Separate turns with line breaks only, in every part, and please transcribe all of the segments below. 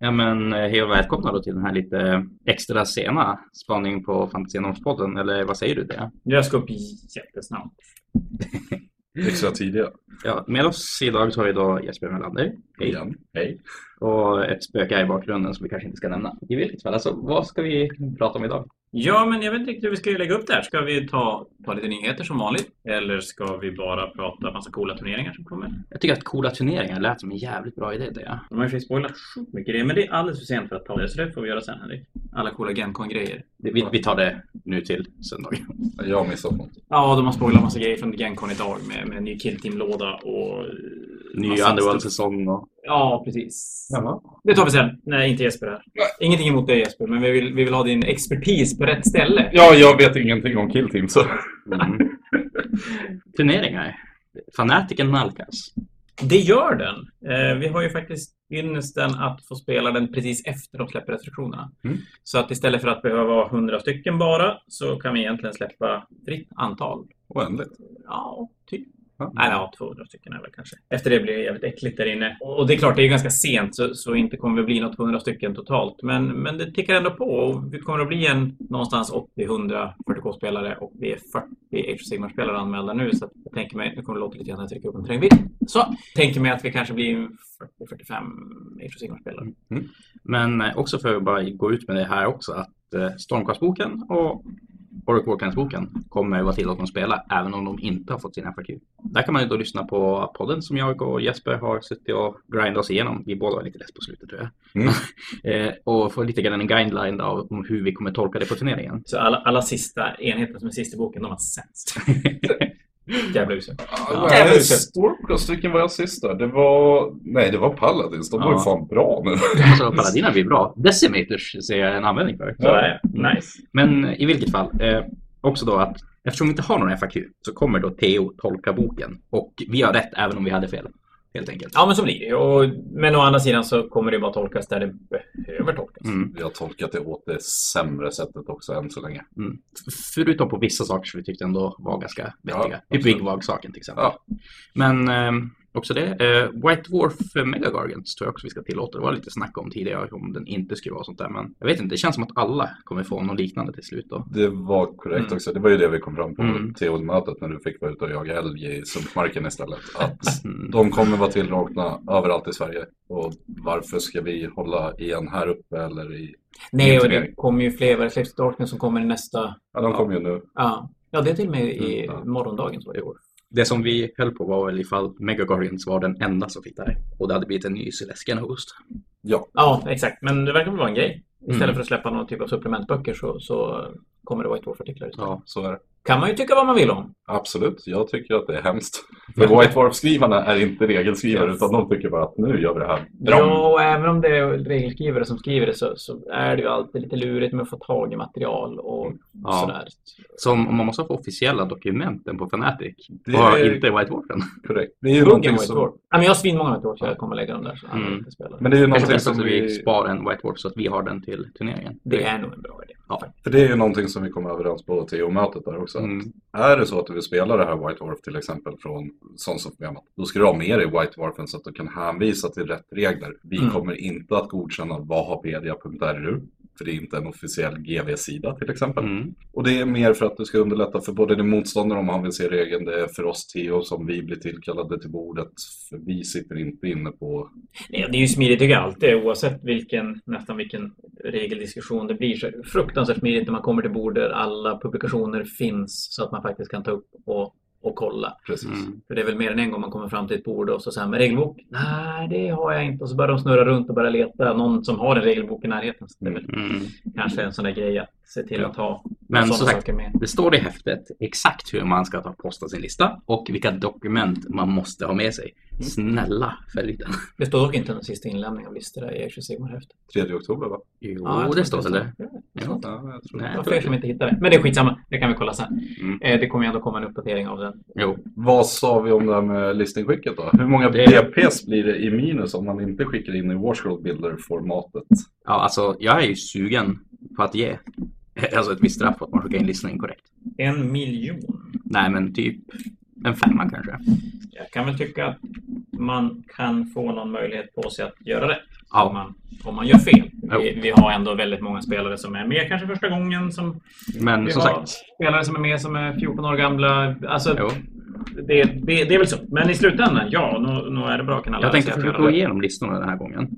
Ja, men eh, hej och välkomna då till den här lite extra sena spaningen på Fantasienormspodden, eller vad säger du det?
Jag ska upp jättesnabbt.
Extra tidiga.
Ja, med oss idag så har vi då Jesper Melander hej,
Igen. Hej.
och ett spöke här i bakgrunden som vi kanske inte ska nämna. I vilket fall, alltså vad ska vi prata om idag?
Ja, men jag vet inte riktigt hur vi ska lägga upp det här. Ska vi ta, ta lite nyheter som vanligt? Eller ska vi bara prata massa coola turneringar som kommer?
Jag tycker att coola turneringar lät som en jävligt bra idé det.
De har ju faktiskt spoilat sjukt mycket grejer, men det är alldeles för sent för att ta det. Så det får vi göra sen, Henrik. Alla coola Gencon-grejer.
Det- Vi, vi tar det nu till söndag.
Jag har missat något.
Ja, de har spoilat massa grejer från Gencon idag med, med en ny Killteam-låda och... eh,
Ny
massa stuff.
Underworld-säsong och...
Ja, precis.
Jaha.
Det tar vi sen. Nej, inte Jesper här. Ingenting emot dig Jesper, men vi vill, vi vill ha din expertis på rätt ställe.
Ja, jag vet ingenting om Kill Team så.
Mm. turneringar. Fanatiken nalkas.
Det gör den. Eh, vi har ju faktiskt ynnesten att få spela den precis efter de släpper restriktionerna.
Mm.
Så att istället för att behöva ha 100 stycken bara så kan vi egentligen släppa fritt antal.
Oändligt.
Ja, typ.
Ja.
Nej, ja, 200 stycken är väl kanske. Efter det blir det jävligt äckligt där inne. Och det är klart, det är ju ganska sent så, så inte kommer det bli något 100 stycken totalt. Men, men det tickar ändå på och vi kommer att bli en någonstans 80-100 40K-spelare och vi är 40 Age of sigmar spelare anmälda nu. Så att jag tänker mig, nu kommer det låta lite grann när jag trycker upp en trängbild. Så, tänker mig att vi kanske blir 40-45 Age of sigmar spelare
Men eh, också för att bara gå ut med det här också att eh, Stormcast-boken och Oracle Warcraft-boken kommer vara tillåtna att spela även om de inte har fått sina FAQ. Där kan man ju då lyssna på podden som jag och Jesper har suttit och grindat oss igenom. Vi båda var lite less på slutet tror jag.
Mm.
Eh, och få lite grann en guideline av om hur vi kommer tolka det på turneringen.
Så alla, alla sista enheter som är sist i boken, de var sämst. Jävla uselt.
Ja,
Jävligt
men
sent.
Stormcast, Alltså, vilken var jag sist där? Det var... Nej, det var Paladins. De var
Ja.
ju fan bra nu.
alltså Paladina blir bra. Decimators ser jag en användning för.
Så är det. eh, Nice.
Men i vilket fall, eh, också då att eftersom vi inte har någon FAQ så kommer då Theo tolka boken. Och vi har rätt även om vi hade fel. Helt enkelt.
Ja, men så blir det ju. Och, men å andra sidan så kommer det bara tolkas där det behöver tolkas.
Mm,
Vi har tolkat det åt det sämre sättet också än så länge.
mm. Förutom på vissa saker som vi tyckte ändå var ganska vettiga.
absolut.
typ Wigwag-saken till exempel.
Ja.
Men eh, också det. Eh, White Dwarf eh, Megagargant tror jag också vi ska tillåta. Det var lite snack om tidigare om den inte skulle vara sånt där. Men jag vet inte, det känns som att alla kommer få något liknande till slut då.
Det var korrekt
Mm.
också. Det var ju det vi kom fram på
Mm.
till mötet när du fick vara ute och jaga älg i sumpmarken istället. Att
Mm.
de kommer vara tilldragna överallt i Sverige. Och varför ska vi hålla igen här uppe eller i...
Nej, och det
Motivering.
kommer ju fler Various Lives Darkness som kommer i nästa...
Ja, de kommer ju nu.
Ja, ja det är till och med i
Mm, ja.
morgondagens var det i år.
Det som vi höll på var väl ifall Megagargants var den enda som fick det här. Och det hade blivit en ny Celestian Host.
Ja, exakt. Men det verkar väl vara en grej. Istället
Mm.
för att släppa någon typ av supplementböcker så, så kommer det White Dwarf-artiklar istället.
Ja.
Så är det.
Kan man ju tycka vad man vill om.
Absolut, jag tycker att det är hemskt. För White Dwarf-skrivarna är inte regelskrivare
Yes.
utan de tycker bara att nu gör vi det här. Bra.
Ja, och även om det är regelskrivare som skriver det så, så är det ju alltid lite lurigt med att få tag i material och
Ja.
sådär.
Som om man måste få officiella dokumenten på Fanatic.
Det
Bara
är
inte White Dwarfen.
korrekt. Det är ju
Huggen
någonting
White
som,
Dwarf. Ja, men jag har svinmånga White Dwarf så jag kommer lägga dem där. Så alla
Mm.
inte spelar.
men det är ju
Kanske
någonting
bäst
som
att vi
vi,
sparar en White Dwarf så att vi har den till turneringen.
Det är nog en bra idé.
för det är ju någonting som vi kom överens på TO-mötet där också.
Mm.
Är det så att du vill spela det här White Dwarf till exempel från Sons of Gamma, då ska du ha med dig White Dwarfen så att du kan hänvisa till rätt regler. Vi
Mm.
kommer inte att godkänna vahapedia.ru, för det är inte en officiell GV-sida till exempel.
Mm.
Och det är mer för att du ska underlätta för både din motståndare om han vill se regeln, det är för oss Theo som vi blir tillkallade till bordet. För vi sitter inte inne på...
Nej, Det är ju smidigt tycker jag alltid oavsett vilken, nästan vilken regeldiskussion det blir. Så är det fruktansvärt smidigt när man kommer till bord där alla publikationer finns så att man faktiskt kan ta upp och, och kolla.
Precis.
Mm.
För det är väl mer än en gång man kommer fram till ett bord och så säger man regelbok? Nej, det har jag inte. Och så börjar de snurra runt och börja leta någon som har en regelbok i närheten. Så det är väl
Mm.
kanske en sån där grej att se till
Ja.
att ha
Men
sådana
som sagt,
saker med.
det står i häftet exakt hur man ska ta posta sin lista och vilka dokument man måste ha med sig. Snälla följ den.
Det står dock inte den sista inlämningen av listor där i Age of Sigmar häftet.
3 oktober va?
Jo,
Ja, jag tror
det står väl det.
Ja, jag tror
Ja.
inte.
Ja, jag tror
Nej.
det.
Det var fler som inte hittade. Men det är skitsamma. Det kan vi kolla sen.
Mm.
Eh, Det kommer ju ändå komma en uppdatering av den.
Jo.
Vad sa vi om det här med listingskicket då? Hur många
Det-
BPs blir det i minus om man inte skickar in i Warscroll Builder-formatet?
Ja, alltså jag är ju sugen på att ge alltså ett visst straff på att man skickar in listan inkorrekt.
En miljon.
Nej, men typ en femma kanske.
Jag kan väl tycka att man kan få någon möjlighet på sig att göra det.
Ja.
om, man, om man gör fel. Vi,
Jo.
vi har ändå väldigt många spelare som är med kanske första gången. Som,
Men
vi
som
har
sagt,
spelare som är med som är 14 år gamla. Alltså,
jo.
det, det, det är väl så. Men i slutändan, ja, nu, nu är det bra kanaler.
jag tänkte försöka gå igenom listorna den här gången.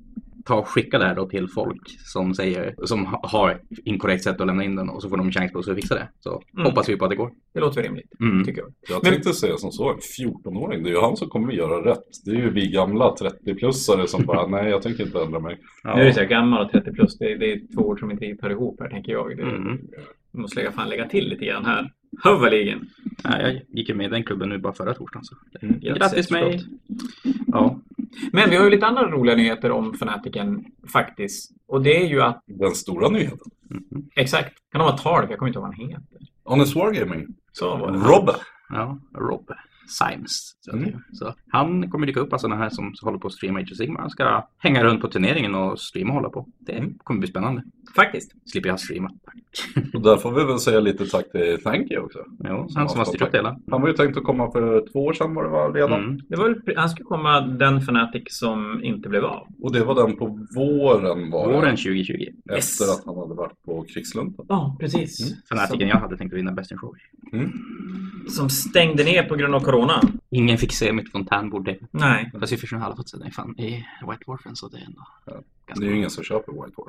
Ta och skicka det här då till folk som, säger, som ha- har ett inkorrekt sätt att lämna in den och så får de chans på sig att fixa det. Så
Mm.
hoppas vi på att det går.
Det låter rimligt,
Mm.
tycker jag.
Jag
Men-
tänkte säga som så, en 14-åring, det är ju han som kommer göra rätt. Det är ju vi gamla 30-plussare som bara, nej jag tänker inte ändra mig.
Nu är det
Ja.
så här, gammal och 30 plus, det, det är två ord som inte riktigt hör ihop här, tänker jag. Det,
Mm.
Vi måste lägga, fan lägga till lite grann här. Hövaligen.
Ja, jag gick ju med i den klubben nu bara förra torsdagen. Så.
Grattis,
Grattis mig!
förlåt.
Ja,
Men vi har ju lite andra roliga nyheter om Fanatiken faktiskt. Och det är ju att,
Den stora nyheten.
exakt, kan de vara Tark? Jag kommer inte ihåg vad han heter.
Honest Wargaming,
Så var det.
Robbe.
ja Rob Symes. Så att
Mm.
det- Så han kommer dyka upp, alltså den här som håller på att streama Age of Sigmar. Han ska hänga runt på turneringen och streama och hålla på. Det kommer bli spännande.
Faktiskt.
Slipper jag streama. Tack.
Och där får vi väl säga lite tack till Thanky också.
Jo, han som har styrt upp det hela.
Han var ju tänkt att komma för två år sedan var det var redan.
Mm.
Det var, väl- han skulle komma den Fanatic som inte blev av.
Och det var den på våren var det.
Våren 2020.
Efter
Yes.
att han hade varit på krigslunten.
Ja, precis.
Fanatiken jag hade tänkt att vinna Best in Show.
Som, som stängde ner på grund av corona.
Ingen fick se mitt fontänbord. Det-
Nej.
Fast vi försökte halva fått se den fan i White Warfen så det är ändå
Ja. Det
ganska
är ju
bra.
ingen som köper White War.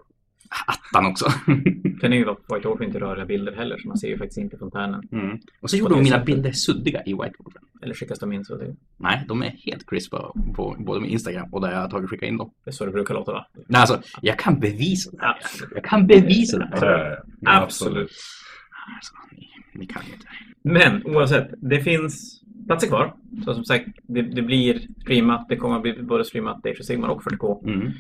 Attan också.
Kan ju vara på White Orphan inte röra bilder heller, så man ser ju faktiskt inte fontänen.
Mm. Och så gjorde
det
de mina
sättet.
bilder suddiga i White Warfen.
Eller skickas de in så. Det
Nej, de är helt crispa på både min Instagram och där jag har tagit och skickat in dem.
det är så det brukar låta, va?
Nej, alltså, jag kan bevisa det. här.
Absolut.
Jag kan bevisa det. här.
Ja, ja, Eh, absolut.
Alltså, ni, ni kan ju inte.
Men oavsett, det finns platser kvar. Så som sagt, det, det blir streamat. Det kommer att bli både streamat Age of Sigmar och 40K
Mm.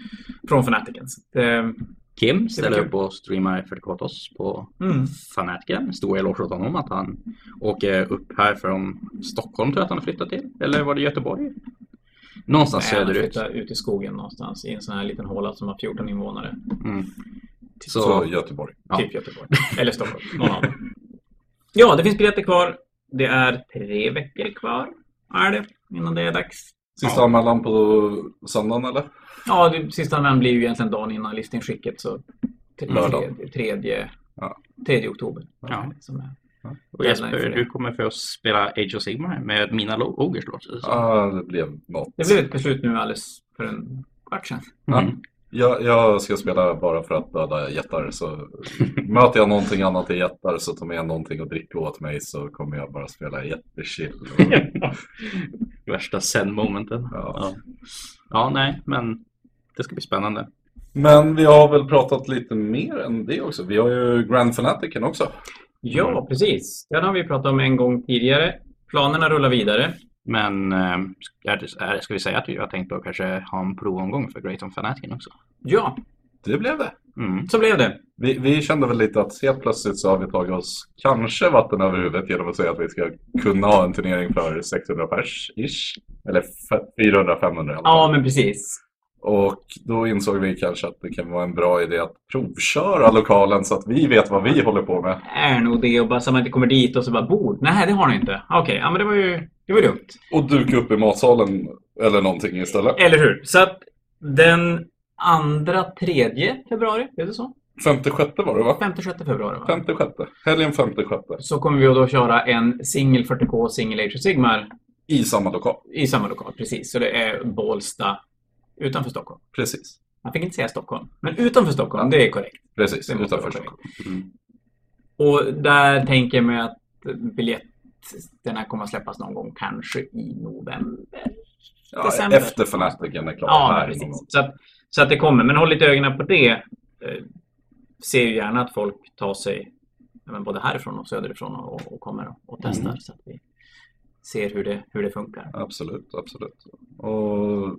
från Fanaticens. Det, mm.
Kim
Det
ställer
var kul.
upp och streamar 40K till oss på
Mm.
Fanatiken. Stor eloge åt honom att han åker upp här från Stockholm tror jag att han har flyttat till. Eller var det Göteborg? Någonstans
Nej, han
söderut.
flyttar ut i skogen någonstans i en sån här liten håla som har 14 invånare.
Mm. Så,
Så, Göteborg.
Ja.
Typ Göteborg. Eller Stockholm. Någon av dem. Ja, det finns biljetter kvar. Det är tre veckor kvar. Är det? Innan det är dags.
Sista
Ja.
anmälan på söndagen eller?
Ja, det, sista anmälan blir ju egentligen dagen innan listingskicket. Så tre-
Lördag.
tredje, tredje,
Ja.
tredje oktober.
Ja.
Som är.
och
Deadline för
Jesper,
det.
du kommer få spela Age of Sigmar med mina lo- ogers låter det som.
Ja, det blev något.
Det blev ett beslut nu alldeles för en kvart sedan.
Mm.
Jag, jag ska spela bara för att döda jättar. Så möter jag någonting annat i jättar så tar med någonting att dricka åt mig så kommer jag bara spela jättechill.
Värsta zen-momenten.
Ja.
Ja. ja, nej, men det ska bli spännande.
Men vi har väl pratat lite mer än det också. Vi har ju Grand Fanaticen också.
Mm.
Ja, precis. Den har vi pratat om en gång tidigare. Planerna rullar vidare.
Men eh, är det- är- ska vi säga att vi har tänkt att kanske ha en provomgång för Great on Fanatiken också?
Ja,
Det blev det.
Mm.
så blev det.
Vi, vi kände väl lite att helt plötsligt så har vi tagit oss kanske vatten över huvudet genom att säga att vi ska kunna ha en turnering för 600 pers ish. Eller f- 400-500 i alla
Ja,
fall.
men precis.
Och då insåg vi kanske att det kan vara en bra idé att provköra lokalen så att vi vet vad vi håller på med.
Är nog det och bara så att man inte kommer dit och så bara bord. Nej, det har ni inte. Okej, ja, men det var ju det var dumt.
Och duka upp i matsalen eller någonting istället.
Eller hur? Så att den andra, tredje februari, är det så?
56 var det va?
Femte, sjätte februari va?
56. Helgen 56.
Så kommer vi att då köra en singel 40K, singel Age of Sigmar
I samma lokal.
i samma lokal. Precis, så det är Bålsta utanför Stockholm.
Precis.
Man fick inte säga Stockholm, men utanför Stockholm, det är korrekt.
Precis,
Det måste
utanför
vara
Stockholm.
Mm.
Och där tänker jag mig att biljetterna kommer att släppas någon gång, kanske i november.
Ja,
December.
efter Fanaticen är klar
Ja,
här. i
precis.
någon-
Så att, så att det kommer. Men håll lite ögonen på det. Eh, Ser ju gärna att folk tar sig ja, men både härifrån och söderifrån och, och kommer och, och testar. Så att vi ser hur det, hur det funkar.
Absolut, absolut. Och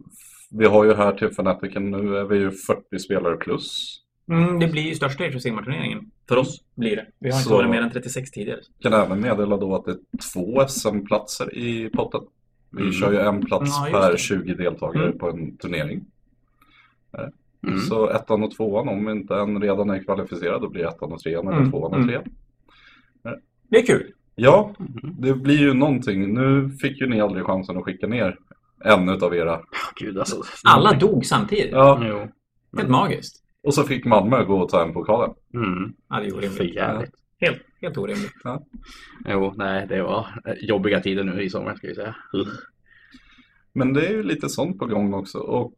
vi har ju här till Fanaticen nu är vi ju 40 spelare plus.
Mm, det blir ju största Age of Sigmar-turneringen. För oss blir det. Vi har inte
Så-
varit mer än 36 tidigare.
Kan även meddela då att det är två SM-platser i potten. Vi
Mm.
kör ju en plats
Ja, just
per
det.
20 deltagare
Mm.
på en turnering.
Mm.
Så ettan och tvåan, om inte en redan är kvalificerad, då blir ettan och trean eller
Mm.
tvåan
Mm.
och trean.
Det är kul.
Ja,
Mm.
det blir ju någonting. Nu fick ju ni aldrig chansen att skicka ner en utav era.
Gud alltså.
Alla dog samtidigt.
Ja,
Jo.
Helt magiskt.
Och så fick Malmö gå och ta hem pokalen.
Mm,
Ja, det är
för
orimligt.
jävligt.
Helt, helt orimligt.
Jo, nej, det var eh, jobbiga tider nu i sommar ska vi säga. Ugh.
Men det är ju lite sånt på gång också. Och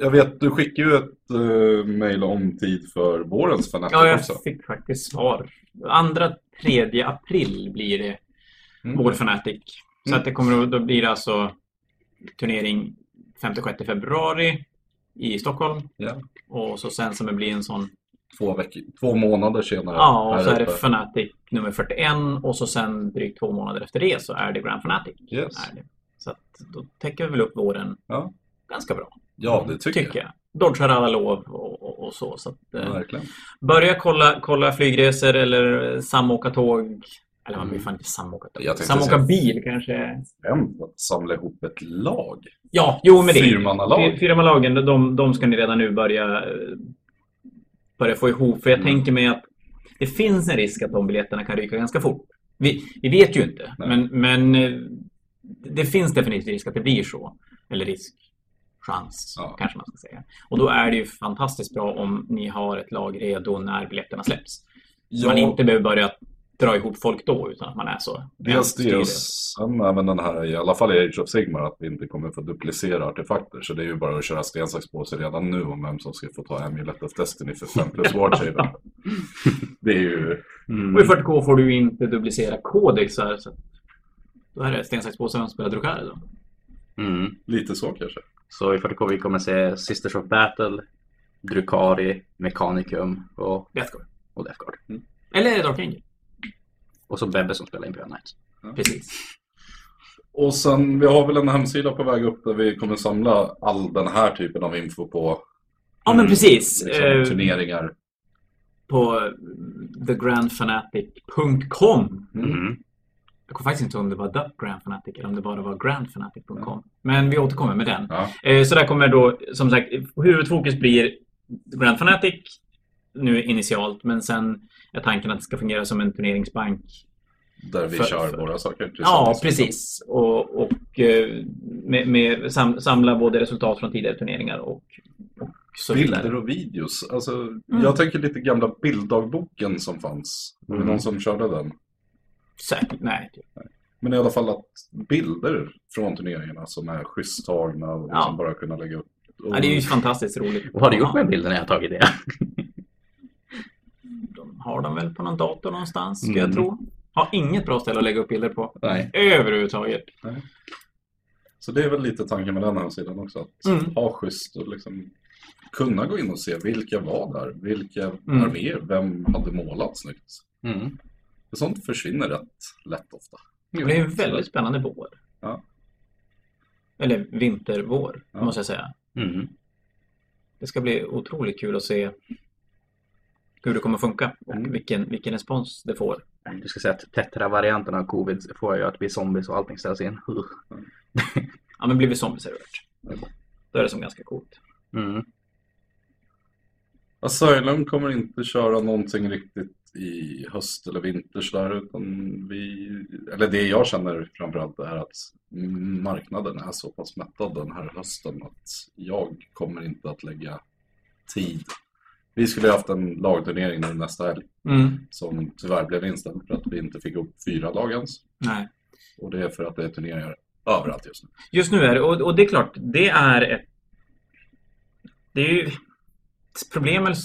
jag vet, du skickade ju ett uh, mejl om tid för vårens Fanatic
Ja,
också.
jag fick faktiskt svar. Andra, tredje april blir det
Mm.
vår Fnatic. Så
Mm.
att det kommer, att- då blir det alltså turnering 5-6 februari i Stockholm.
Ja.
Och så sen som det blir en sån
Två, veckor, två månader senare.
Ja, och
här
så är det
uppe.
Fnatic nummer 41 och så sen drygt två månader efter det så är det Grand Fnatic.
Yes.
Är det. Så att då täcker vi väl upp våren
Ja.
ganska bra,
Ja, det tycker,
tycker jag. Dodge har alla lov och, och, och så. så att,
jag.
eh,
Verkligen.
börja kolla, kolla flygresor eller eh, samåka tåg. Eller man vill fan inte samåka
Mm. Jag
tåg.
tänkte
Samåka
säga-
bil kanske.
Fem att samla ihop ett lag.
Ja, jo men det.
Fyrmannalag.
Fy- Fyrmannalagen, de, de ska ni redan nu börja, eh, börja få ihop. För jag
Mm.
tänker mig att det finns en risk att de biljetterna kan ryka ganska fort. Vi, vi vet ju inte,
Nej.
men, men eh, det finns definitivt risk att det blir så. Eller risk, chans
Ja.
kanske man ska säga. Och då är det ju fantastiskt bra om ni har ett lag redo när biljetterna släpps. Så
Ja,
man inte behöver börja dra ihop folk då, utan att man är så.
dels det
styr
och sen även den här, i alla fall i Age of Sigmar, att vi inte kommer få duplicera artefakter. Så det är ju bara att köra sten, sax, påse redan nu om vem som ska få ta hem Gillette of Destiny för 5 plus Ward Shaver. Det är ju...
Mm.
Och i 40K får du ju inte duplicera kodexar. Så att då är det sten, sax, påse vem spelar Drukari då.
Mm.
Lite så kanske.
Så i 40K vi kommer se Sisters of Battle, Drukari, Mechanicum och,
Deathcore.
och Death Guard.
Eller Dark Angel.
Och så Bebbe som spelar Imperial Knights.
Precis.
Och sen, vi har väl en hemsida på väg upp där vi kommer samla all den här typen av info på
Ja, men
Mm,
precis.
liksom,
Eh,
turneringar.
på eh, thegrandfanatic.com.
Mm.
Jag kommer faktiskt inte ihåg om det var The Grand Fanatic eller om det bara var grandfanatic.com.
Mm.
Men vi återkommer med den.
Ja.
Eh, Så där kommer då, som sagt, huvudfokus blir Grand Fanatic nu initialt, men sen är tanken att det ska fungera som en turneringsbank
Där vi
För-
kör
för-
våra saker
Ja,
tillsammans.
precis. Och, och eh, med, med, sam, samla både resultat från tidigare turneringar och, och så Mm.
Bilder
vidare.
och videos. Alltså, Jag tänker lite gamla bilddagboken som fanns. Var det
Mm.
någon som körde den?
Säkert, nej. typ.
Men i alla fall att bilder från turneringarna som är schysst tagna och
Ja.
som bara kunna lägga upp. Och
Ja, det är ju fantastiskt roligt.
Vad har du gjort med bilden när jag har tagit det?
De har de väl på någon dator någonstans, skulle
Mm.
jag tro. Har inget bra ställe att lägga upp bilder på.
Nej.
Överhuvudtaget.
Så det är väl lite tanken med den här sidan också. Att
Mm.
ha schysst och liksom kunna gå in och se vilka var där, vilka
Mm.
arméer, vem hade målat snyggt.
Mm.
För Sånt försvinner rätt lätt ofta.
Och det är en väldigt spännande vår.
Ja.
Eller vintervår,
Ja.
måste jag säga.
Mm.
Det ska bli otroligt kul att se hur det kommer funka och
Mm.
vilken, vilken respons det får.
Du ska säga att tetra-varianten av covid får ju att bli zombies och allting ställs in. Ugh.
Ja, men blir vi zombies är det värt. Då är det som ganska coolt.
Mm.
Asylum kommer inte köra någonting riktigt i höst eller vinter sådär, utan vi, eller det jag känner framförallt är att marknaden är så pass mättad den här hösten att jag kommer inte att lägga tid. Vi skulle ha haft en lagturnering nu nästa helg
Mm,
som tyvärr blev inställd för att vi inte fick ihop fyra lag ens.
Nej.
Och det är för att det är turneringar överallt just nu.
Just nu är det, och, och det är klart, det är ett... Det är ju... Problem eller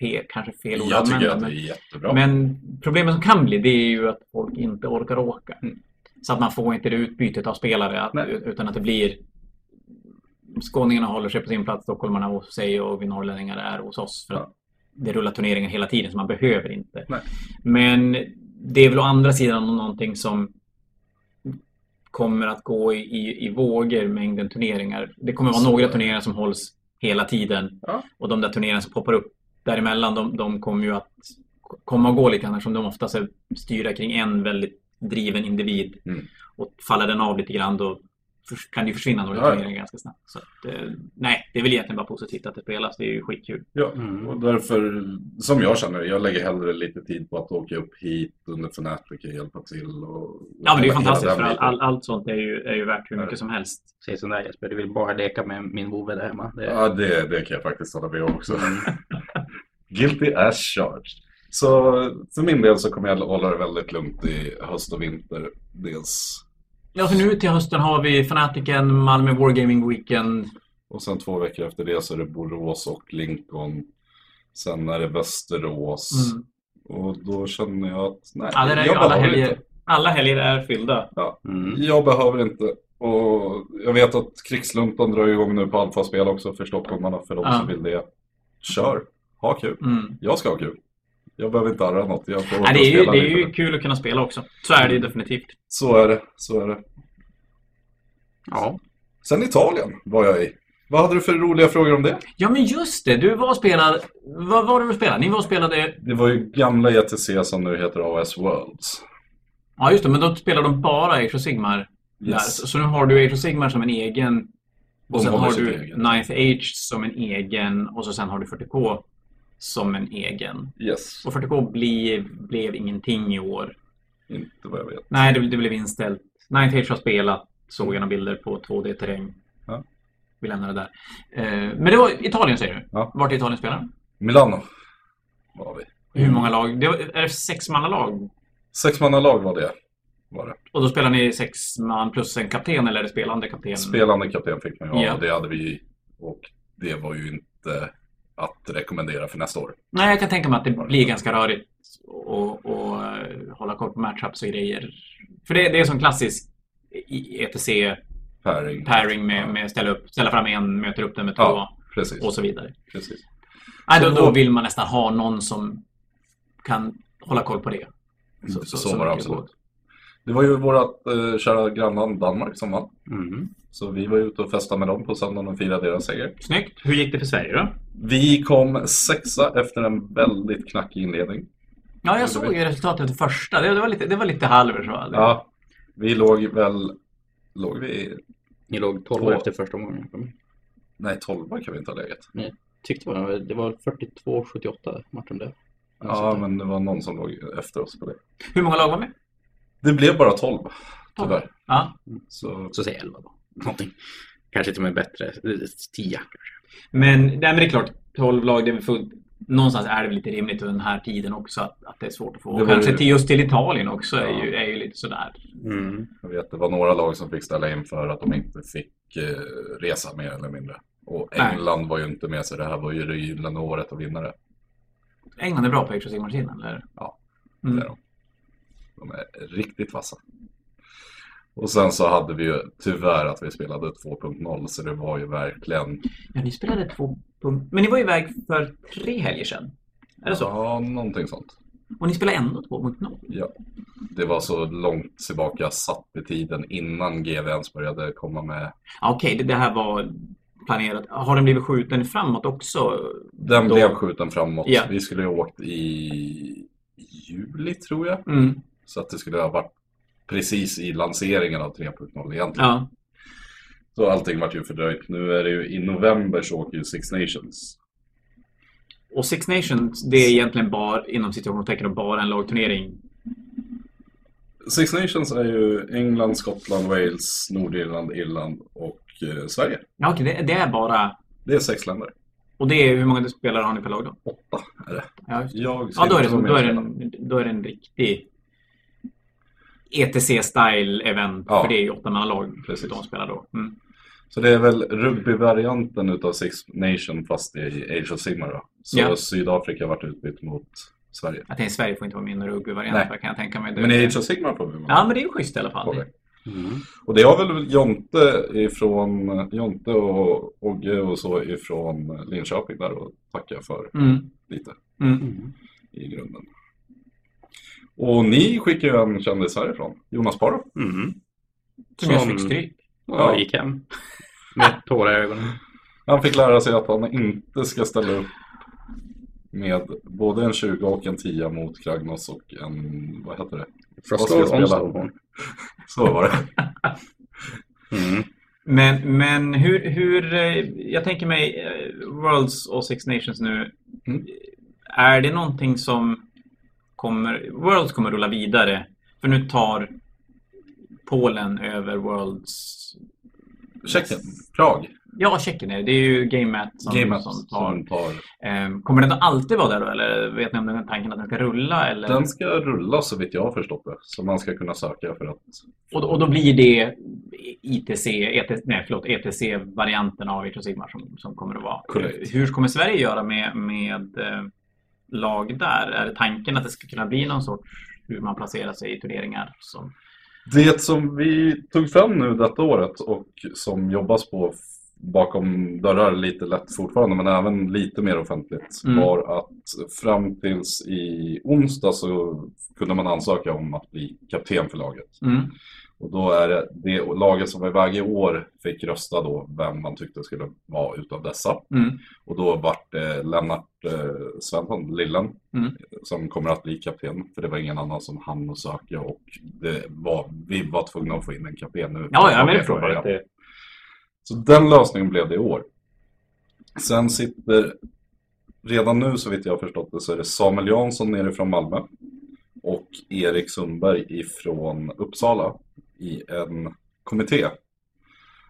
fel, kanske fel ord
Jag
att
tycker
använda,
att det är
men,
jättebra.
men problemet som kan bli, det är ju att folk inte orkar åka.
Mm.
Så att man får inte det utbytet av spelare, att,
Nej.
utan att det blir... Skåningarna håller sig på sin plats, stockholmarna hos sig och vi norrlänningar är hos oss. För att
Ja.
det rullar turneringar hela tiden, så man behöver inte.
Nej.
Men det är väl å andra sidan någonting som kommer att gå i, i, i vågor, mängden turneringar. Det kommer vara
Så är
några
det.
turneringar som hålls hela tiden.
Ja.
Och de där turneringarna som poppar upp däremellan, de, de kommer ju att komma och gå lite grann eftersom de oftast är styrda kring en väldigt driven individ.
Mm.
Och faller den av lite grann då för- kan det ju försvinna några
Ja, ja.
turneringar ganska snabbt. Så att, eh, nej, det är väl egentligen bara positivt att det spelas. Det är ju skitkul.
Ja,
Mm.
och därför, som jag känner jag lägger hellre lite tid på att åka upp hit under Fnatic och hjälpa till. Och,
Ja, men det är ju
hela
fantastiskt.
den
För all,
biten.
all, allt sånt är ju, är ju värt hur
Ja.
mycket som helst.
Säg sån där Jesper, du vill bara leka med min vovve där hemma. Det,
Ja, det, det kan jag faktiskt hålla med om också.
Mm.
Guilty as charged. Så för min del så kommer jag hålla det väldigt lugnt i höst och vinter. Dels,
Ja, för nu till hösten har vi Fanatiken, Malmö Wargaming Weekend.
och sen två veckor efter det så är det Borås och Lincoln. Sen är det Västerås.
Mm.
Och då känner jag att nej,
Ja, det där är
jag
ju alla
behöver
helger.
inte.
Alla helger är fyllda.
Mm.
Jag behöver inte. Och jag vet att krigslumpen drar igång nu på alfaspel också för stockholmarna, för de
Ja.
som vill det. Kör! Ha kul!
Mm.
Jag ska ha kul. Jag behöver inte arra något. Jag får
Nej, det, är ju,
spela
det är
lite.
ju kul att kunna spela också. Så är det ju definitivt.
Så är det, så är det.
Ja.
Sen Italien var jag i. Vad hade du för roliga frågor om det?
Ja, men just det. Du var spelad... Vad var du och spelade? Ni var och spelade...
Det var ju gamla ETC som nu heter AS Worlds.
Ja, just det. Men då spelade de bara Age of Sigmar. Där. Så, så nu har du Age of Sigmar som en egen. Och
De
sen
håller
har
sitt
du
eget.
Ninth Age som en egen. Och så sen har du 40K som en egen.
Yes,
Och 40K blev, blev ingenting i år.
inte vad jag vet.
Nej, det, det blev inställt. Nine Tails har spelat, såg jag några bilder på 2D-terräng.
Ja.
Vi lämnar det där. Eh, Men det var Italien säger du?
Ja.
Vart i Italien spelar du?
Milano var vi.
Hur många lag? Det var, är det sexmannalag?
Sexmannalag var det. Var det.
Och då spelar ni sex man plus en kapten eller är det spelande kapten?
Spelande kapten fick man ju ha
Ja.
och det hade vi Och det var ju inte att rekommendera för nästa år.
Nej, jag kan tänka mig att det blir ganska rörigt och, och eh, hålla koll på matchups och grejer. För det, det är som klassisk E i- ETC-pairing
Pairing.
med,
Ja.
med ställa, upp, ställa fram en, möter upp den med två
Ja. Precis.
och så vidare.
precis.
Nej, då,
Så-
då vill man nästan ha någon som kan hålla koll på det.
Mm, Så, var det
mycket går.
absolut. Det var ju vårt eh, kära grannland Danmark som vann.
Mm.
Så vi var ute och festade med dem på söndagen och firade deras seger.
Snyggt. Hur gick det för Sverige då?
Vi kom sexa efter en väldigt knackig inledning.
Ja, jag såg ju resultatet efter första. Det, det, var lite, det var lite halver så. va? Det-
Ja, vi låg väl... Låg vi...
Ni låg 12
Två.
efter första omgången.
Nej, tolva kan vi inte ha legat.
Tyckte man, det var 42-78 matchen där.
Ja, Alltså, men det var någon som låg efter oss på det.
Hur många lag var med?
Det blev bara tolv,
Tolv.
tyvärr.
Ja.
Så
Så säg 11 då. Någonting. Kanske till och med bättre. 10.
Men, nej, men det är klart, 12 lag, det är väl fullt. Någonstans är det väl lite rimligt under den här tiden också att, att det är svårt att få.
Det
Och
var
Kanske
ju-
till just till Italien också är,
Ja.
ju, är ju lite sådär.
Mm.
jag vet, det var några lag som fick ställa in för att de inte fick eh, resa mer eller mindre. Och
Nej.
England var ju inte med, så det här var ju det gyllene året att vinna det.
England är bra på Age of Sigmar eller?
Ja,
Mm.
Det är de. De är riktigt vassa. Och sen så hade vi ju tyvärr att vi spelade 2.0 så det var ju verkligen...
Ja, ni spelade två punkt. Men ni var ju iväg för tre helger sedan. Är det så?
Ja, någonting sånt.
Och ni spelade ändå två mot noll.
Ja. Det var så långt tillbaka satt i tiden innan GV ens började komma med.
Ja, Okej, det, det här var planerat. Har den blivit skjuten framåt också?
Den
Då-
blev skjuten framåt.
Ja.
Vi skulle ju ha åkt i juli tror jag.
Mm,
Så att det skulle ha varit precis i lanseringen av 3.0 egentligen.
ja.
Så allting vart ju fördröjt. Nu är det ju i november så åker ju Six Nations.
Och Six Nations, det är egentligen bara, inom situationstecken, och bara en lagturnering.
Six Nations är ju England, Skottland, Wales, Nordirland, Irland och eh, Sverige.
Ja, okej, det, det är bara...
Det är sex länder.
Och det är, hur många spelare har ni per lag då?
Åtta är det.
Ja, just det.
Jag
ja då, är det,
som
då, är det en, då är det en riktig E ETC-style-event.
Ja.
För det är ju åttamannalag
Precis.
de spelar då. Mm.
Så det är väl rugbyvarianten utav Six Nation fast i Age of Sigmar då. Så
Ja.
Sydafrika vart utbytt mot Sverige.
Att det är Sverige får inte vara med i någon
Nej.
rugbyvariant, vad kan jag tänka mig. Det-
Men i Age of Sigmar får vi
Ja, men det är ju schysst i alla fall.
Okej.
Mm.
Och det har väl Jonte ifrån Jonte och Ogge och så ifrån Linköping där och tacka för
Mm,
lite
mm.
i grunden. Och ni skickar ju en kändis härifrån, Jonas Paro.
Mm.
Som jag
Som-
fick stryk.
Och
Ja.
jag gick hem. Med tårar i ögonen.
Han fick lära sig att han inte ska ställa upp med både en 20 och en 10 mot Kragnos och en, vad heter det?
Frostlord
Vad ska jag spela?
Onstorm.
Så var det.
Mm.
Men, men hur, hur... eh, Jag tänker mig eh, Worlds och Six Nations nu.
Mm.
Är det någonting som kommer... Worlds kommer rulla vidare. För nu tar Polen över Worlds...
Tjeckien, Prag,
Ja, Tjeckien är det. Det är ju GameMat som,
Game
som tar.
som tar.
Ehm, kommer den alltid vara där då? Eller vet ni om den här tanken att den ska rulla? Eller?
Den ska rulla så vitt jag har förstått det. Så man ska kunna söka för att...
Och, och då blir det ITC, ETC, E nej, förlåt, ETC-varianten av Age of Sigmar som, som kommer att vara. Eh,
Korrekt.
Hur kommer Sverige göra med, med eh, lag där? Är det tanken att det ska kunna bli någon sorts hur man placerar sig i turneringar? Som,
Det som vi tog fram nu detta året och som jobbas på f- bakom dörrar lite lätt fortfarande men även lite mer offentligt
Mm.
var att fram tills i onsdag så kunde man ansöka om att bli kapten för laget.
mm.
Och då är det, det laget som var iväg i år fick rösta då vem man tyckte skulle vara utav dessa.
Mm.
Och då vart det Lennart eh, Svensson, Lillen,
Mm.
som kommer att bli kapten. För det var ingen annan som hann att söka och det var, vi var tvungna att få in en kapten nu.
Ja, ja, men det
Från
tror jag.
början.
Det,
Så den lösningen blev det i år. Sen sitter, redan nu så vitt jag har förstått det, så är det Samuel Jansson nerifrån Malmö och Erik Sundberg ifrån Uppsala i en kommitté.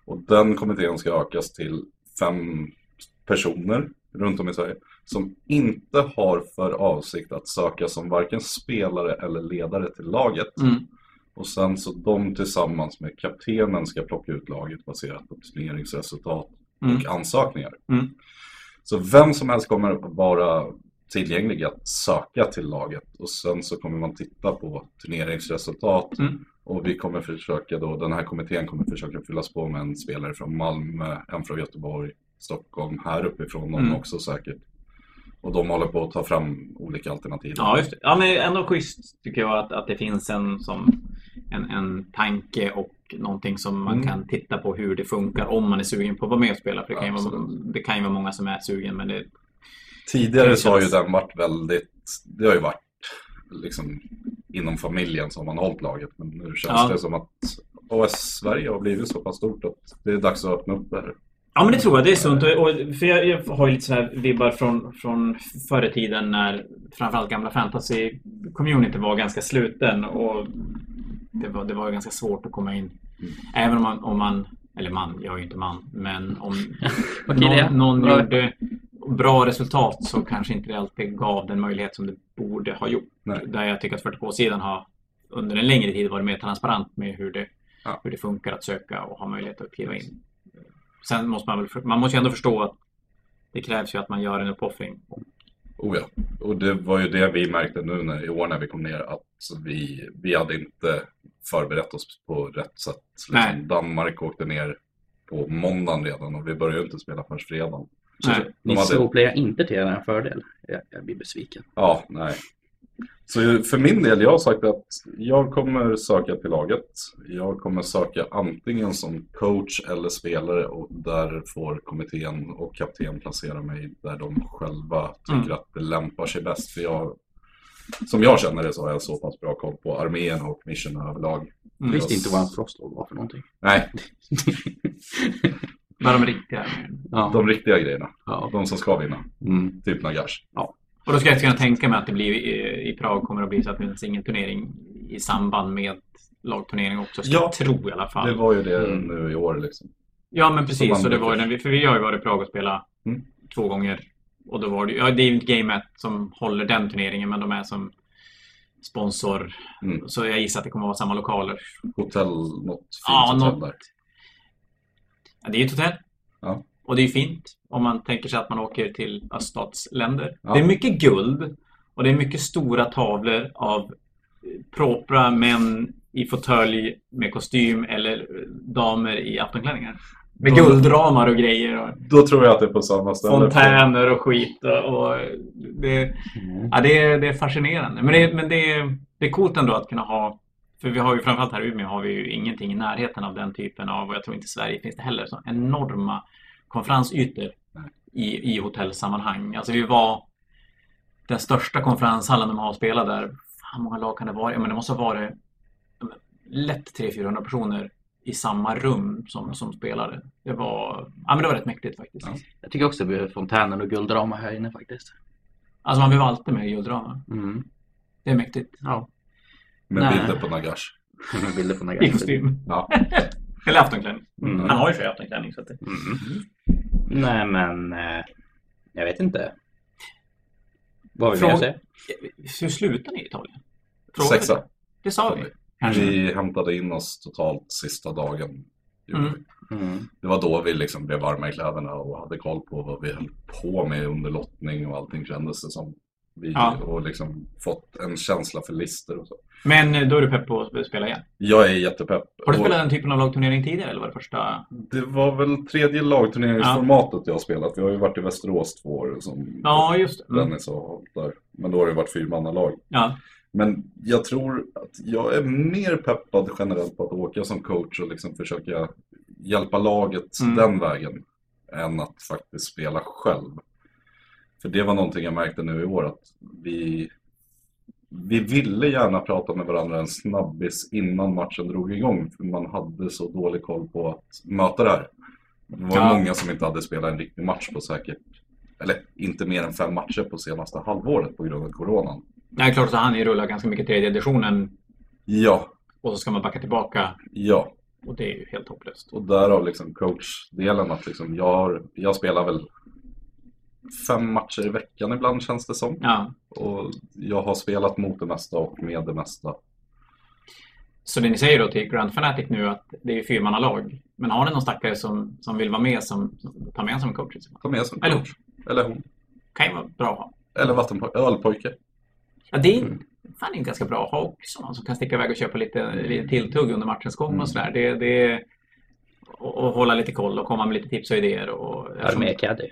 Och den kommittén ska ökas till fem personer runt om i Sverige som inte har för avsikt att söka som varken spelare eller ledare till laget.
mm.
Och sen så de tillsammans med kaptenen ska plocka ut laget baserat på turneringsresultat
Mm.
och ansökningar.
Mm.
Så vem som helst kommer att vara tillgänglig att söka till laget och sen så kommer man titta på turneringsresultat
Mm.
och vi kommer försöka då, den här kommittén kommer försöka fyllas på med en spelare från Malmö, en från Göteborg, Stockholm, här uppifrån någon
Mm.
också säkert. Och de håller på att ta fram olika alternativ.
Ja, just det. Ja, men ändå schysst tycker jag att, att det finns en, som, en, en tanke och någonting som man
Mm.
kan titta på hur det funkar om man är sugen på att vara med och spela. För det, kan ju vara,
Absolut.
det kan ju vara många som är sugen men det...
Tidigare
Det
så har ju
känns-
den varit väldigt, det har ju varit liksom inom familjen som man har hållit laget. Men nu känns
Ja.
det som att OS-Sverige har blivit så pass stort att det är dags att öppna upp det här.
Ja men det tror jag, det är sunt. Och, och, för jag, jag har ju lite sådana här vibbar från, från förr i tiden när framförallt gamla fantasy-community var ganska sluten och det var, det var ju ganska svårt att komma in.
Mm.
Även om man, om man, eller man, jag är ju inte man, men om
Okej, det.
någon, någon
Bra.
gjorde bra resultat så kanske inte det alltid gav den möjlighet som det borde ha gjort.
Nej.
Där jag tycker att 40K-sidan har under en längre tid varit mer transparent med hur det,
Ja.
hur det funkar att söka och ha möjlighet att kliva in. Sen måste man väl, för- man måste ju ändå förstå att det krävs ju att man gör en uppoffring.
Oh ja. Och det var ju det vi märkte nu när, i år när vi kom ner att vi, vi hade inte förberett oss på rätt sätt.
Nej.
Liksom Danmark åkte ner på måndagen redan och vi började ju inte spela förrän fredagen.
Nej.
De
Ni
hade-
slowplayar inte till er en fördel. Jag, jag blir besviken.
Ja, nej. Så för min del, jag har sagt att jag kommer söka till laget. Jag kommer söka antingen som coach eller spelare och där får kommittén och kapten placera mig där de själva tycker
Mm.
att det lämpar sig bäst. För jag, som jag känner det så har jag så pass bra koll på armén och mission överlag.
Jag
Mm.
visste inte vad en frostlord var för någonting.
Nej,
När de är riktiga.
Ja.
de riktiga grejerna.
Ja.
De som ska vinna.
Mm.
Typ Nagash.
Och då ska jag inte kunna tänka mig att det blir eh, i, i Prag kommer att bli så att det finns ingen turnering i samband med lagturnering också. Ska
Ja.
jag tro i alla fall.
Det var ju det
Mm.
nu i år liksom.
Ja, men
Som
precis.
man
Så det
brukar
var ju den, vi- för vi har ju varit i Prag och spelat
Mm.
två gånger. Och då var det, ju- ja, det är ju inte Game 1 som håller den turneringen, men de är som sponsor.
Mm.
Så jag gissar att det kommer att vara samma lokaler.
Hotell, något fint
Ja,
hotell
något.
där.
Ja, det är ju ett hotell.
Ja.
Och det är ju fint om man tänker sig att man åker till öststatsländer.
Ja.
Det är mycket guld och det är mycket stora tavlor av eh, propra män i fåtölj med kostym eller eh, damer i aftonklänningar. Med
Då-
guldramar och grejer. Och...
Då tror jag att det är på samma ställe.
fontäner och skit. Och och det,
Mm.
ja, det, är, det är fascinerande. Men, det, men det, är- det är coolt ändå att kunna ha för vi har ju framförallt här i Umeå har vi ju ingenting i närheten av den typen av, och jag tror inte i Sverige finns det heller, så enorma konferensytor i, i hotellsammanhang. Alltså vi var den största konferenshallen de har spelat där. Fan, Hur många lag kan det vara? Ja, men det måste ha varit ja, men lätt 300-400 personer i samma rum som, som spelare. Det var, ja, men det var rätt mäktigt faktiskt.
Ja.
Jag tycker också det blir fontänen och guldramar här inne faktiskt.
Alltså man blev alltid med i guldramar.
Mm.
Det är mäktigt.
Ja,
Med
Nej.
bilder på Nagash.
bilder på några
I kostym.
Ja.
Eller aftonklänning.
Mm.
Han har ju för sig aftonklänning. Så att det...
Mm. Nej men, eh, jag vet inte. Vad vill
Från-
jag säga?
Hur slutar ni i Italien?
Sexa.
Det sa vi. Kanske.
Vi hämtade in oss totalt sista dagen. gjorde
Mm.
vi.
Mm.
Det var då vi liksom blev varma i kläderna och hade koll på vad vi höll på med under lottning och allting kändes det som. Vi,
Ja.
Och liksom fått en känsla för lister och så.
Men eh, då är du pepp på att spela igen.
Jag är jättepepp.
Har du
Och
spelat den typen av lagturnering tidigare eller var det första?
Det var väl tredje lagturneringsformatet jag har spelat. Jag har ju varit i Västerås två år som
Ja, just det. Mm.
Dennis har hållit där. Men då har det varit fyrmannalag.
Ja.
Men jag tror att jag är mer peppad generellt på att åka som coach och liksom försöka hjälpa laget
Mm.
den vägen än att faktiskt spela själv. För det var någonting jag märkte nu i år att vi, vi ville gärna prata med varandra en snabbis innan matchen drog igång för man hade så dålig koll på att möta det här. Det var
Ja.
många som inte hade spelat en riktig match på säkert, eller inte mer än fem matcher på senaste halvåret på grund av coronan.
Det är klart så han ju rullar ganska mycket tredje editionen
Ja,
och så ska man backa tillbaka
ja.
och det är ju helt hopplöst.
Och därav liksom coachdelen att liksom jag, har, jag spelar väl fem matcher i veckan ibland känns det som.
Ja.
Och jag har spelat mot det mesta och med det mesta.
Så det ni säger då till Grand Fanatic nu att det är ju fyrmannalag. Men har ni någon stackare som, som vill vara med som, som tar med en som coach? Det
Ta med som
Eller
coach. Eller hon.
kan ju vara bra att ha.
Eller vattenpoj- ölpojke.
Ja, det är fan inte ganska bra att ha också någon som kan sticka iväg och köpa lite, lite tilltugg under matchens gång och sådär. Det, det, och, och hålla lite koll och komma med lite tips och idéer. Och,
Armé Caddy.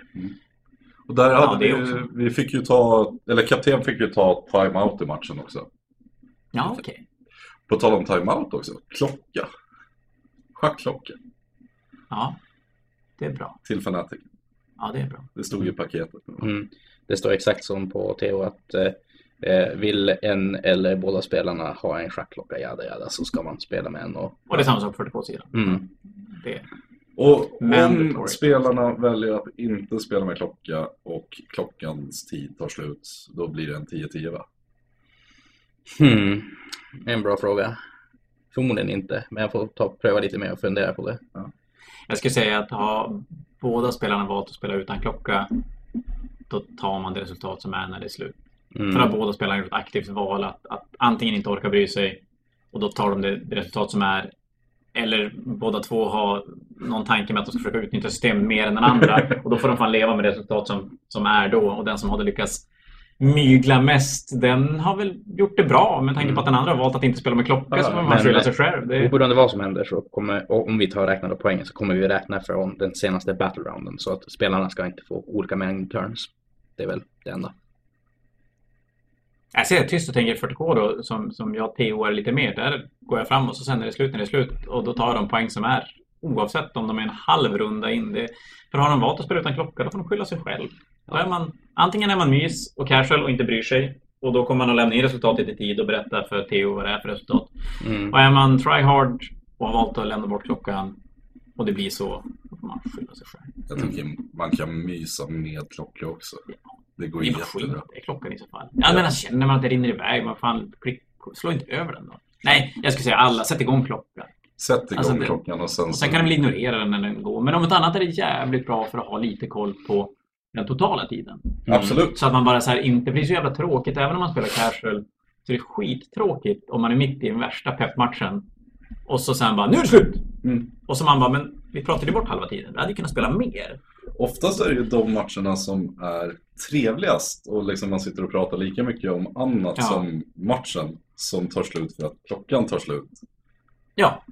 Och där
Ja,
hade
det
vi,
också.
vi fick ju ta, eller kapten fick ju ta timeout i matchen också.
Ja, okej.
På tal om timeout också, klocka. Schackklocka
Ja, det är bra.
till Fnatic.
Ja, det är bra.
Det stod i paketet.
Mm. Det står exakt som på TH att eh, vill en eller båda spelarna ha en schackklocka, jada jada, så ska man spela med en. Och,
Och det är samma sak på 42-sidan.
mm.
Det-
Och om
Mandatory.
spelarna väljer att inte spela med klocka och klockans tid tar slut, då blir det en 10-10 va?
hmm. En bra fråga. Förmodligen inte, men jag får ta, pröva lite mer och fundera på det.
Jag skulle säga att har båda spelarna valt att spela utan klocka, då tar man det resultat som är när det är slut.
Mm.
För att båda spelarna gjort ett aktivt val att, att antingen inte orka bry sig och då tar de det, det resultat som är. Eller båda två har någon tanke med att de ska försöka utnyttja systemet mer än den andra och då får de fan leva med det resultat som, som är då. Och den som hade lyckats mygla mest, den har väl gjort det bra med tanke på att den andra har valt att inte spela med klocka så får man
Mm. Men-
skylla sig själv. Det,
Oberoende vad som händer så kommer, och om vi tar räknade poängen så kommer vi räkna från den senaste battle rounden så att spelarna ska inte få olika mängd turns. Det är väl det enda.
Jag ser tyst och tänker 40K då, som, som jag TOar lite mer. Där går jag fram och så sen är det slut när det är slut. Och då tar de poäng som är. Oavsett om de är en halv runda in. Det, för har de valt att spela utan klocka, då får de skylla sig själv. Då är man, antingen är man mys och casual och inte bryr sig. Och då kommer man att lämna in resultatet i tid och berätta för TO vad det är för resultat.
Mm.
Och är man try hard och har valt att lämna bort klockan och det blir så, då får man skylla sig själv.
Jag tycker man kan mysa med klocka också. Det går
Det
ju
är bara skit
jättebra.
i klockan i så fall. Ja, men alltså, känner man att det rinner iväg, man fan, klick, slå inte över den då. Nej, jag skulle säga alla, sätt igång klockan.
Sätt igång
Alltså, det-
klockan och sen,
Och sen kan de väl ignorera den när den går. Men om inte annat är det jävligt bra för att ha lite koll på den totala tiden.
Absolut.
Så att man bara så här inte blir så jävla tråkigt. Även om man spelar casual så är det skittråkigt om man är mitt i den värsta peppmatchen. Och så sen bara, nu är det slut!
Mm.
Och så man bara, men vi pratade ju bort halva tiden. Vi hade ju kunnat spela mer.
Oftast är det ju de matcherna som är trevligast och liksom man sitter och pratar lika mycket om annat
Ja.
som matchen som tar slut för att klockan tar slut.
Ja.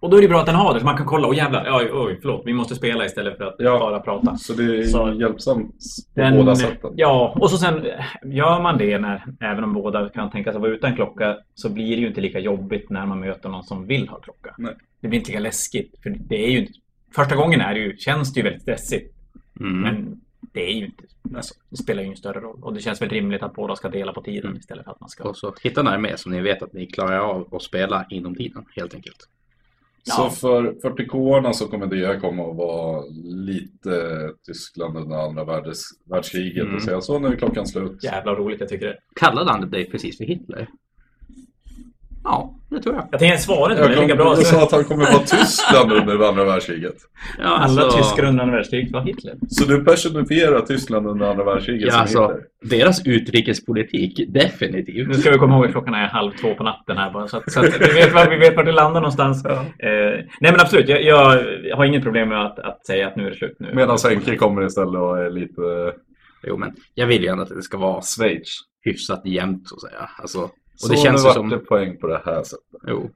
Och då är det bra att den har det, så man kan kolla. Och jävlar, oj, oj, förlåt. Vi måste spela istället för att
Ja.
bara prata.
Så det är ju
Så-
hjälpsamt på
Den-
båda sätten.
Ja, och så sen eh, gör man det när, även om båda kan tänka sig vara utan klocka, så blir det ju inte lika jobbigt när man möter någon som vill ha klocka.
Nej.
Det blir inte lika läskigt, för det är ju inte, första gången är det ju, känns det ju väldigt stressigt,
Mm.
men det är ju inte, alltså, det spelar ju ingen större roll. Och det känns väl rimligt att båda ska dela på tiden
Mm.
istället för att man ska...
Och så hitta en armé som ni vet att ni klarar av att spela inom tiden helt enkelt.
Ja.
Så för 40K-arna så kommer det komma att vara lite Tyskland under andra världs- världskriget
Mm.
och säga så nu är klockan slut.
Jävla roligt, jag tycker det.
Kallade han dig precis för Hitler? Ja, det tror jag.
Jag tänker svara inte på
Jag,
det lika
kom,
bra.
jag
som-
sa att han kommer att vara Tyskland under andra världskriget.
Ja,
Alla
alltså,
tyskar under andra världskriget var Hitler.
Så du personifierar Tyskland under andra världskriget
Ja,
som
alltså.
Hitler?
Deras utrikespolitik,
Nu
definitivt.
ska vi komma ihåg att klockan är halv två på natten här bara, så att, så att vi, vet var, vi vet var det landar någonstans. Eh, nej men absolut, jag, jag har inget problem med att, att säga att nu är det slut. Nu.
Medan Henke kommer istället och är lite
Jo, men jag vill ju ändå att det ska vara
Schweiz.
hyfsat jämnt så att säga. Alltså, och
Så
det känns ju
nu vart
som...
det poäng på det här sättet.
Jo.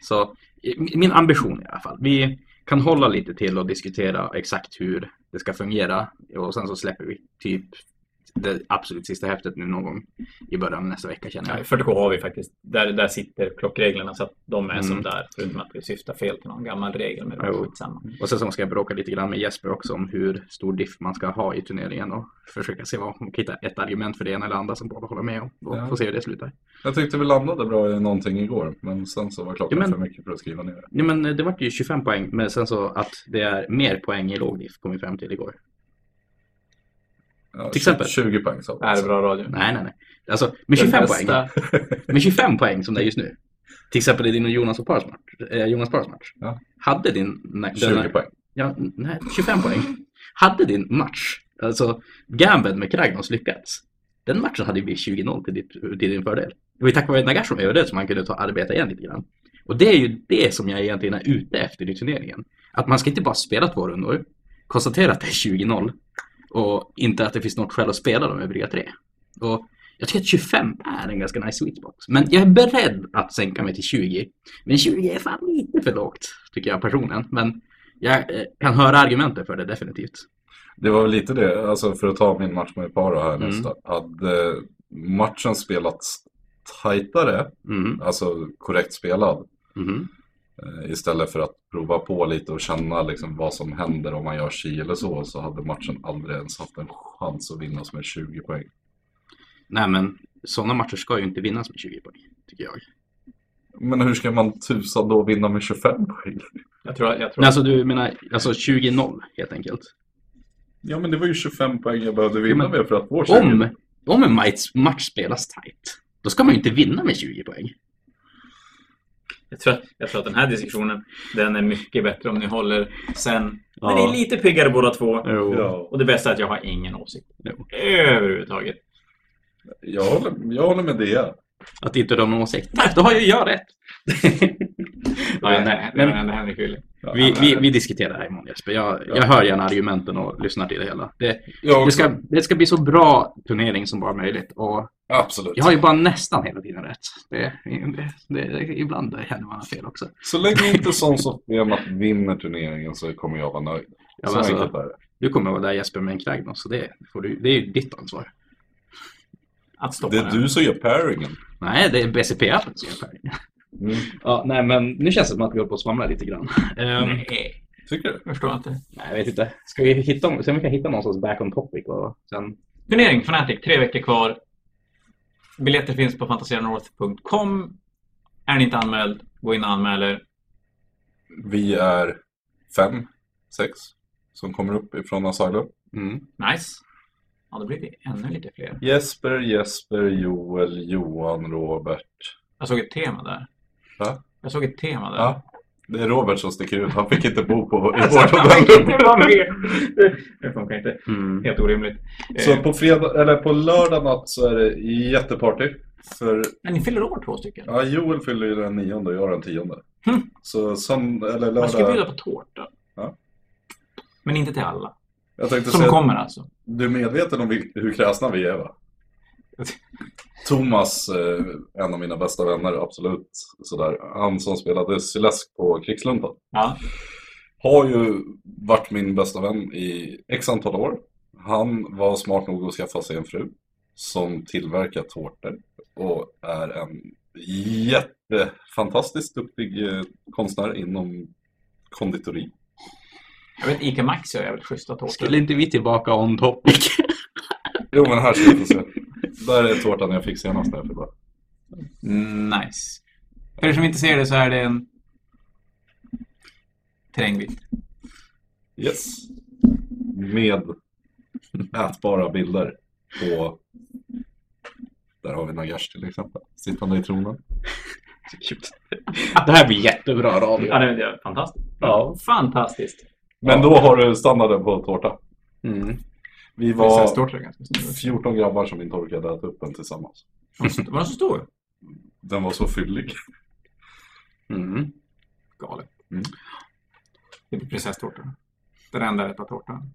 Så i- min- min ambition i alla fall. Vi kan hålla lite till och diskutera exakt hur det ska fungera och sen så släpper vi typ det absolut sista häftet nu någon gång i början av nästa vecka känner
Ja,
jag.
40K har vi faktiskt. Där, där sitter klockreglerna så att de är som
Mm.
där. Förutom att vi syftar fel till någon gammal regel. Men det
Jo.
är skitsamma.
Och sen så ska jag bråka lite grann med Jesper också om hur stor diff man ska ha i turneringen och försöka se vad man kan hitta ett argument för det ena eller andra som båda håller med om och
Ja.
få se hur det slutar.
Jag tyckte vi landade bra i någonting igår, men sen så var klockan
Ja, men-
för mycket för att skriva ner det.
Nej men eh, det vart ju 25 poäng men sen så att det är mer poäng i låg diff kom vi fram till igår.
Ja,
Till exempel.
20 poäng sa
Det här är bra radio.
Nej nej nej. Alltså med 25 poäng.
bästa-
med 25 poäng som det är just nu. Till exempel i din och Jonas och Pars match. Eh, Jonas Pars match.
Ja.
Hade din... Nej,
20 poäng.
Ja, nej, 25 poäng. Hade din match, alltså gamben med Kragnos lyckats. Den matchen hade ju blivit 20-0 till, ditt, till din fördel. Det var ju tack vare Nagash som överlevde som han kunde ta arbeta igen lite grann. Och det är ju det som jag egentligen är ute efter i turneringen. Att man ska inte bara spela två rundor, konstatera att det är 20-0 och inte att det finns något skäl att spela de övriga tre. Och jag tycker att 25 är en ganska nice sweet spot. Men jag är beredd att sänka mig till 20. Men 20 är fan lite för lågt, tycker jag personligen. Men jag eh, kan höra argumenten för det definitivt.
Det var väl lite det, alltså för att ta min match med Paro här
Mm.
nästa. Hade matchen spelats tajtare,
Mm.
alltså korrekt spelad,
Mhm.
eh, istället för att prova på lite och känna liksom vad som händer om man gör si eller så, så hade matchen aldrig ens haft en chans att vinnas med 20 poäng.
Nej men sådana matcher ska ju inte vinnas med 20 poäng, tycker jag.
Men hur ska man tusan då vinna med 25 poäng?
Jag tror, jag tror
Men alltså du menar alltså 20-0 helt enkelt.
Ja, men det var ju 25 poäng jag behövde vinna
Ja, men-
med för att få 20.
Om, om en match, match spelas tajt, då ska man ju inte vinna med 20 poäng.
Jag tror, att- jag tror att den här diskussionen, den är mycket bättre om ni håller sen. Men ni
Ja.
är lite piggare båda två.
Ja,
Och det bästa är att jag har ingen åsikt.
Jo.
Överhuvudtaget.
jag håller, jag håller med det.
Att inte du har någon åsikt. Tack, då har ju jag rätt!
Ja,
Nej,
nej,
men-
det var det Henrik ville.
Ja,
Vi, vi, vi diskuterar det här imorgon Jesper. Jag, jag hör gärna argumenten och lyssnar till det hela. Det,
jag
det,
också.
ska, det ska bli så bra turnering som bara möjligt. Och
Absolut.
jag har ju bara nästan hela tiden rätt. Det, det, det, ibland händer man fel också.
Så länge inte Sons of Behemoth vinner turneringen så kommer jag vara nöjd.
Ja,
så
men alltså-
enkelt är det.
Du kommer vara där Jesper med en Kragnos, så det, får du, det är ju ditt ansvar.
Att stoppa
Det är
den.
du som gör pairingen.
Nej, det är BCP-appen som gör färgen.
Mm.
Ja, nej, men nu känns det som att vi håller på att svamla lite grann. Ehm,
Nej,
Tycker du?
jag förstår inte.
nej, jag vet inte. Ska vi hitta, sen vi kan hitta någon sorts back on topic och sen...
Turnering Fnatic, tre veckor kvar. Biljetter finns på fantasianorth.com. Är ni inte anmäld, gå in och anmäl er.
Vi är fem, sex som kommer upp ifrån Asylum.
Mm.
Nice. Ja, då blir vi ännu lite fler.
Jesper, Jesper, Joel, Johan, Robert.
Jag såg ett tema där.
Va?
Jag såg ett tema där.
Ja, det är Robert som sticker ut. Han fick inte bo på i
Alltså,
vårt
jag fick
hotellrum.
inte vara med. Det funkar inte.
Mm.
Helt orimligt.
Så
Eh,
på, fredag, eller på lördag natt så är det jätteparty. För
Men ni fyller år två stycken.
ja, Joel fyller ju den nionde och jag den tionde.
Hm.
Så sönd- eller
Man ska bjuda
lördag.
på tårta.
Ja.
Men inte till alla.
Jag tänkte
Som
säga,
kommer alltså.
du är medveten om vil- hur kräsna vi är va? Thomas, eh, en av mina bästa vänner, absolut. Sådär. Han som spelade Silesk på Krigsluntan.
Ja.
Har ju varit min bästa vän i x antal år. Han var smart nog att skaffa sig en fru som tillverkar tårtor och är en jättefantastiskt duktig eh, konstnär inom konditori.
Jag vet Ica Maxi har jävligt schyssta tårtor.
Skulle inte vi tillbaka on topic?
Jo men här ska vi få se. Där är tårtan jag fick senast när jag fyllde.
Mm, Nice. För er som inte ser det så är det en terrängvilt.
Yes. Med mätbara bilder på... Där har vi Nagash till exempel. Sittande i tronen.
Det här blir jättebra radio.
Ja, det det är fantastiskt.
Ja.
Fantastiskt.
Men då har du standarden på tårta.
Mm.
Vi
Det var...
var
Stort, det, är ganska stort.
14 grabbar som inte orkade äta upp den tillsammans.
Det var så stor?
Den var så fyllig.
Mm.
Galet.
Mm.
Det blir prinsesstårta. Den enda rätta tårtan.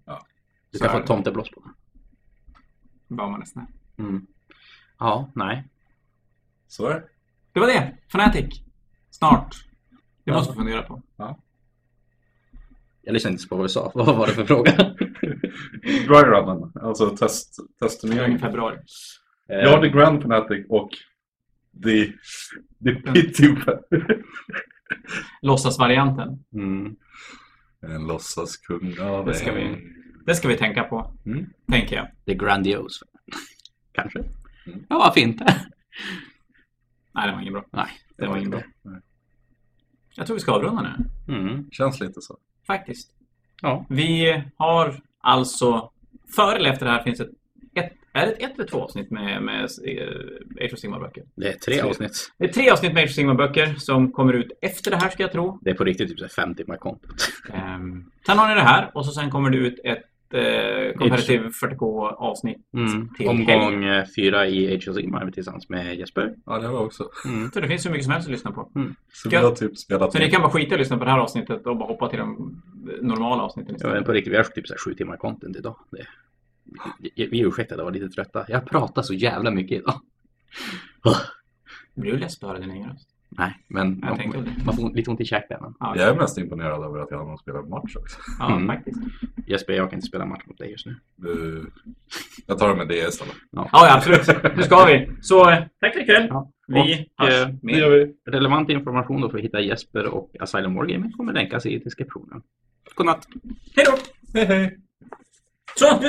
Du ska
Så
få
är det.
tomteblås på den.
Bara man är snäll.
Mm. Ja, nej.
Så är det.
Det var det. Fnatic. Snart. Det
Ja.
måste vi fundera på.
Jag lyssnade inte på vad du sa. Vad var det för fråga?
Dry runnen, alltså test,
I
testturneringen.
februari.
Jag har The Grand Fanatic och The, the Pity
Låtsasvarianten.
Mm.
En låtsaskung av
Det ska vi-
en-
Det ska vi tänka på.
Mm.
Tänker jag.
Det är grandios. Kanske.
Mm.
Ja, varför inte?
Nej, det var inget bra.
Nej,
Det var inget bra.
Nej.
Jag tror vi ska avrunda nu.
Mm.
Känns lite så.
Faktiskt.
Ja.
Vi har alltså... Före eller efter det här finns ett... ett är det ett eller två avsnitt med, med eh, Age of Sigmar-böcker?
Det är tre
Tre.
avsnitt.
Det är tre avsnitt med Age of Sigmar-böcker som kommer ut efter det här, ska jag tro.
Det är på riktigt typ så här 50 timmar kontot.
Ehm, sen har ni det här och så sen kommer det ut ett eh, Comparative 40K avsnitt. Till
Omgång eh, fyra i Age of Sigmar tillsammans med Jesper.
Ja, det var också.
Mm.
Så det finns hur mycket som helst att lyssna på.
Så
Ska-
vi har typ spelat
Så ni kan bara skita i att lyssna på det här avsnittet och bara hoppa till de normala avsnitten
Ja, men
istället.
på riktigt, vi har typ så här sju timmar content idag. Det, vi- vi ursäktar, jag var lite trötta. Jag pratar så jävla mycket idag.
Det blir ju läskigt att höra din egen röst.
Nej, men
Jag tänkte väl
man,
det.
man får lite ont i käken. men
Ja,
Jag är mest imponerad över att jag hann spela en match också.
ja
Mm.
faktiskt.
Jesper, jag kan inte spela match mot dig just nu.
Du... Jag tar det med det istället.
Ja, ja, absolut. Nu ska vi. Så eh, tack för ikväll.
Ja.
Vi
Och,
hörs
eh,
mer.
vi.
Relevant information då för att hitta Jesper och Asylum Wargaming kommer länkas i descriptionen. Godnatt!
Hej då!
Hej hej.
Så, nu ska